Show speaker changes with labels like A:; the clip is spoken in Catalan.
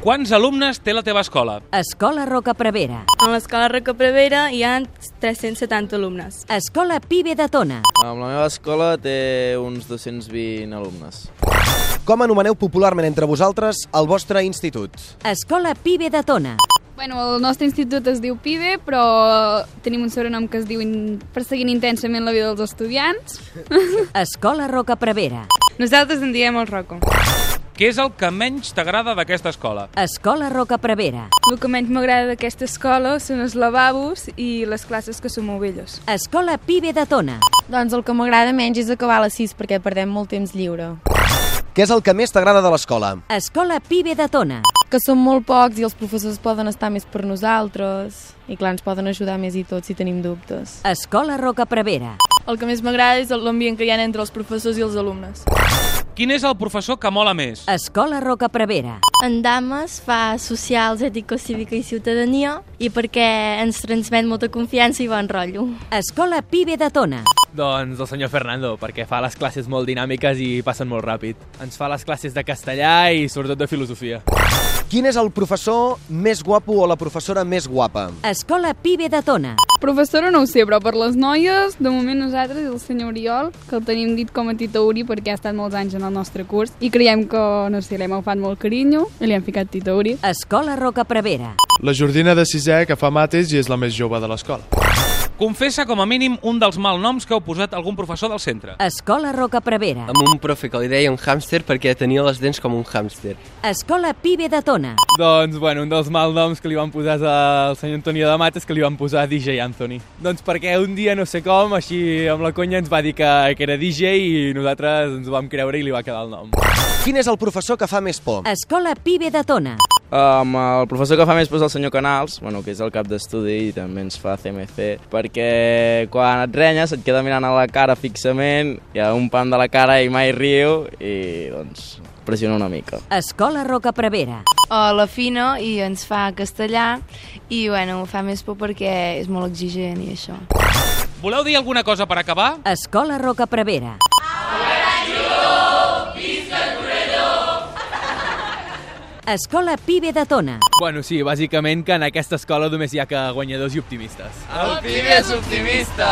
A: Quants alumnes té la teva escola?
B: Escola Roca Prevera.
C: En l'escola Roca Prevera hi ha 370 alumnes.
B: Escola Pibe de Tona.
D: Amb la meva escola té uns 220 alumnes.
E: Com anomeneu popularment entre vosaltres el vostre institut?
B: Escola Pibe de Tona.
F: Bueno, el nostre institut es diu PIBE, E, però tenim un sobrenom que es diu in- Perseguint intensament la vida dels estudiants.
B: Escola Roca Prevera.
C: Nosaltres en diem el Roco.
A: Què és el que menys t'agrada d'aquesta escola?
B: Escola Roca Prevera.
C: El que menys m'agrada d'aquesta escola són els lavabos i les classes que som ovelles.
B: Escola Pibe de Tona.
G: Doncs el que m'agrada menys és acabar a les 6 perquè perdem molt temps lliure.
E: Què és el que més t'agrada de l'escola?
B: Escola Pibe de Tona.
G: Que som molt pocs i els professors poden estar més per nosaltres i clar, ens poden ajudar més i tot si tenim dubtes.
B: Escola Roca Prevera.
C: El que més m'agrada és l'ambient que hi ha entre els professors i els alumnes.
A: Quin és el professor que mola més?
B: Escola Roca Prevera.
H: En Dames fa socials, ètica, cívica i ciutadania i perquè ens transmet molta confiança i bon rotllo.
B: Escola Pibe de Tona.
I: Doncs el senyor Fernando, perquè fa les classes molt dinàmiques i passen molt ràpid. Ens fa les classes de castellà i sobretot de filosofia.
E: Quin és el professor més guapo o la professora més guapa?
B: Escola Pibe de Tona.
F: Professora no ho sé, però per les noies, de moment nosaltres i el senyor Oriol, que el tenim dit com a Titauri perquè ha estat molts anys en el nostre curs, i creiem que, no sé, l'hem agafat molt carinyo i li hem ficat Titauri.
B: Escola Roca Prevera.
J: La Jordina de sisè, que fa mates i és la més jove de l'escola.
A: Confessa com a mínim un dels malnoms que heu posat algun professor del centre.
B: Escola Roca Prevera.
D: Amb un profe que li deia un hàmster perquè tenia les dents com un hàmster.
B: Escola Pibe de Tona.
I: Doncs, bueno, un dels malnoms que li van posar al senyor Antonio de Mates que li van posar DJ Anthony. Doncs perquè un dia, no sé com, així amb la conya ens va dir que, que era DJ i nosaltres ens ho vam creure i li va quedar el nom.
E: Quin és el professor que fa més por?
B: Escola Pibe de Tona.
D: Um, el professor que fa més por és el senyor Canals, bueno, que és el cap d'estudi i també ens fa CMC, perquè quan et renyes et queda mirant a la cara fixament, hi ha un pam de la cara i mai riu i doncs pressiona una mica.
B: Escola Roca Prevera.
G: O la Fina i ens fa castellà i bueno, fa més por perquè és molt exigent i això.
A: Voleu dir alguna cosa per acabar?
B: Escola Roca Prevera. Escola Pibe de Tona.
I: Bueno, sí, bàsicament que en aquesta escola només hi ha que guanyadors i optimistes.
D: El PIB és optimista!